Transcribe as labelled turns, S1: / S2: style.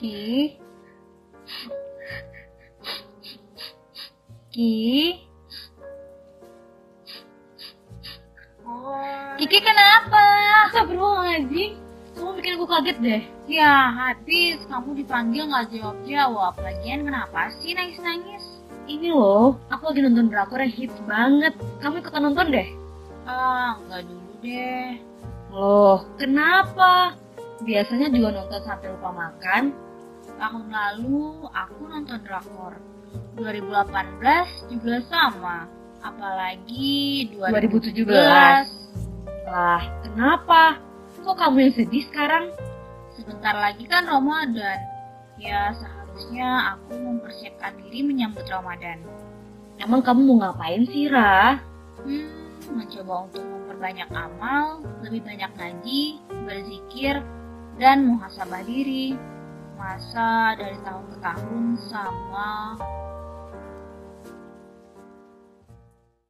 S1: Ki. Ki.
S2: Oh.
S1: Kiki kenapa?
S2: Astagfirullahaladzim. Kamu bikin aku kaget deh.
S1: Ya, habis kamu dipanggil nggak jawab-jawab. Lagian kenapa sih nangis-nangis?
S2: Ini loh, aku lagi nonton drakor yang hits banget. Kamu ikutan nonton deh.
S1: Ah, nggak dulu deh.
S2: Loh, kenapa? Biasanya juga nonton sampai lupa makan.
S1: Tahun lalu aku nonton drakor. 2018 juga sama. Apalagi 2017.
S2: 2017. Lah, kenapa? Kok kamu yang sedih sekarang?
S1: Sebentar lagi kan Ramadan. Ya, seharusnya aku mempersiapkan diri menyambut Ramadan.
S2: Emang kamu mau ngapain sih, Ra?
S1: Hmm, mencoba untuk memperbanyak amal, lebih banyak ngaji, berzikir, dan muhasabah diri. Masa dari tahun ke tahun sama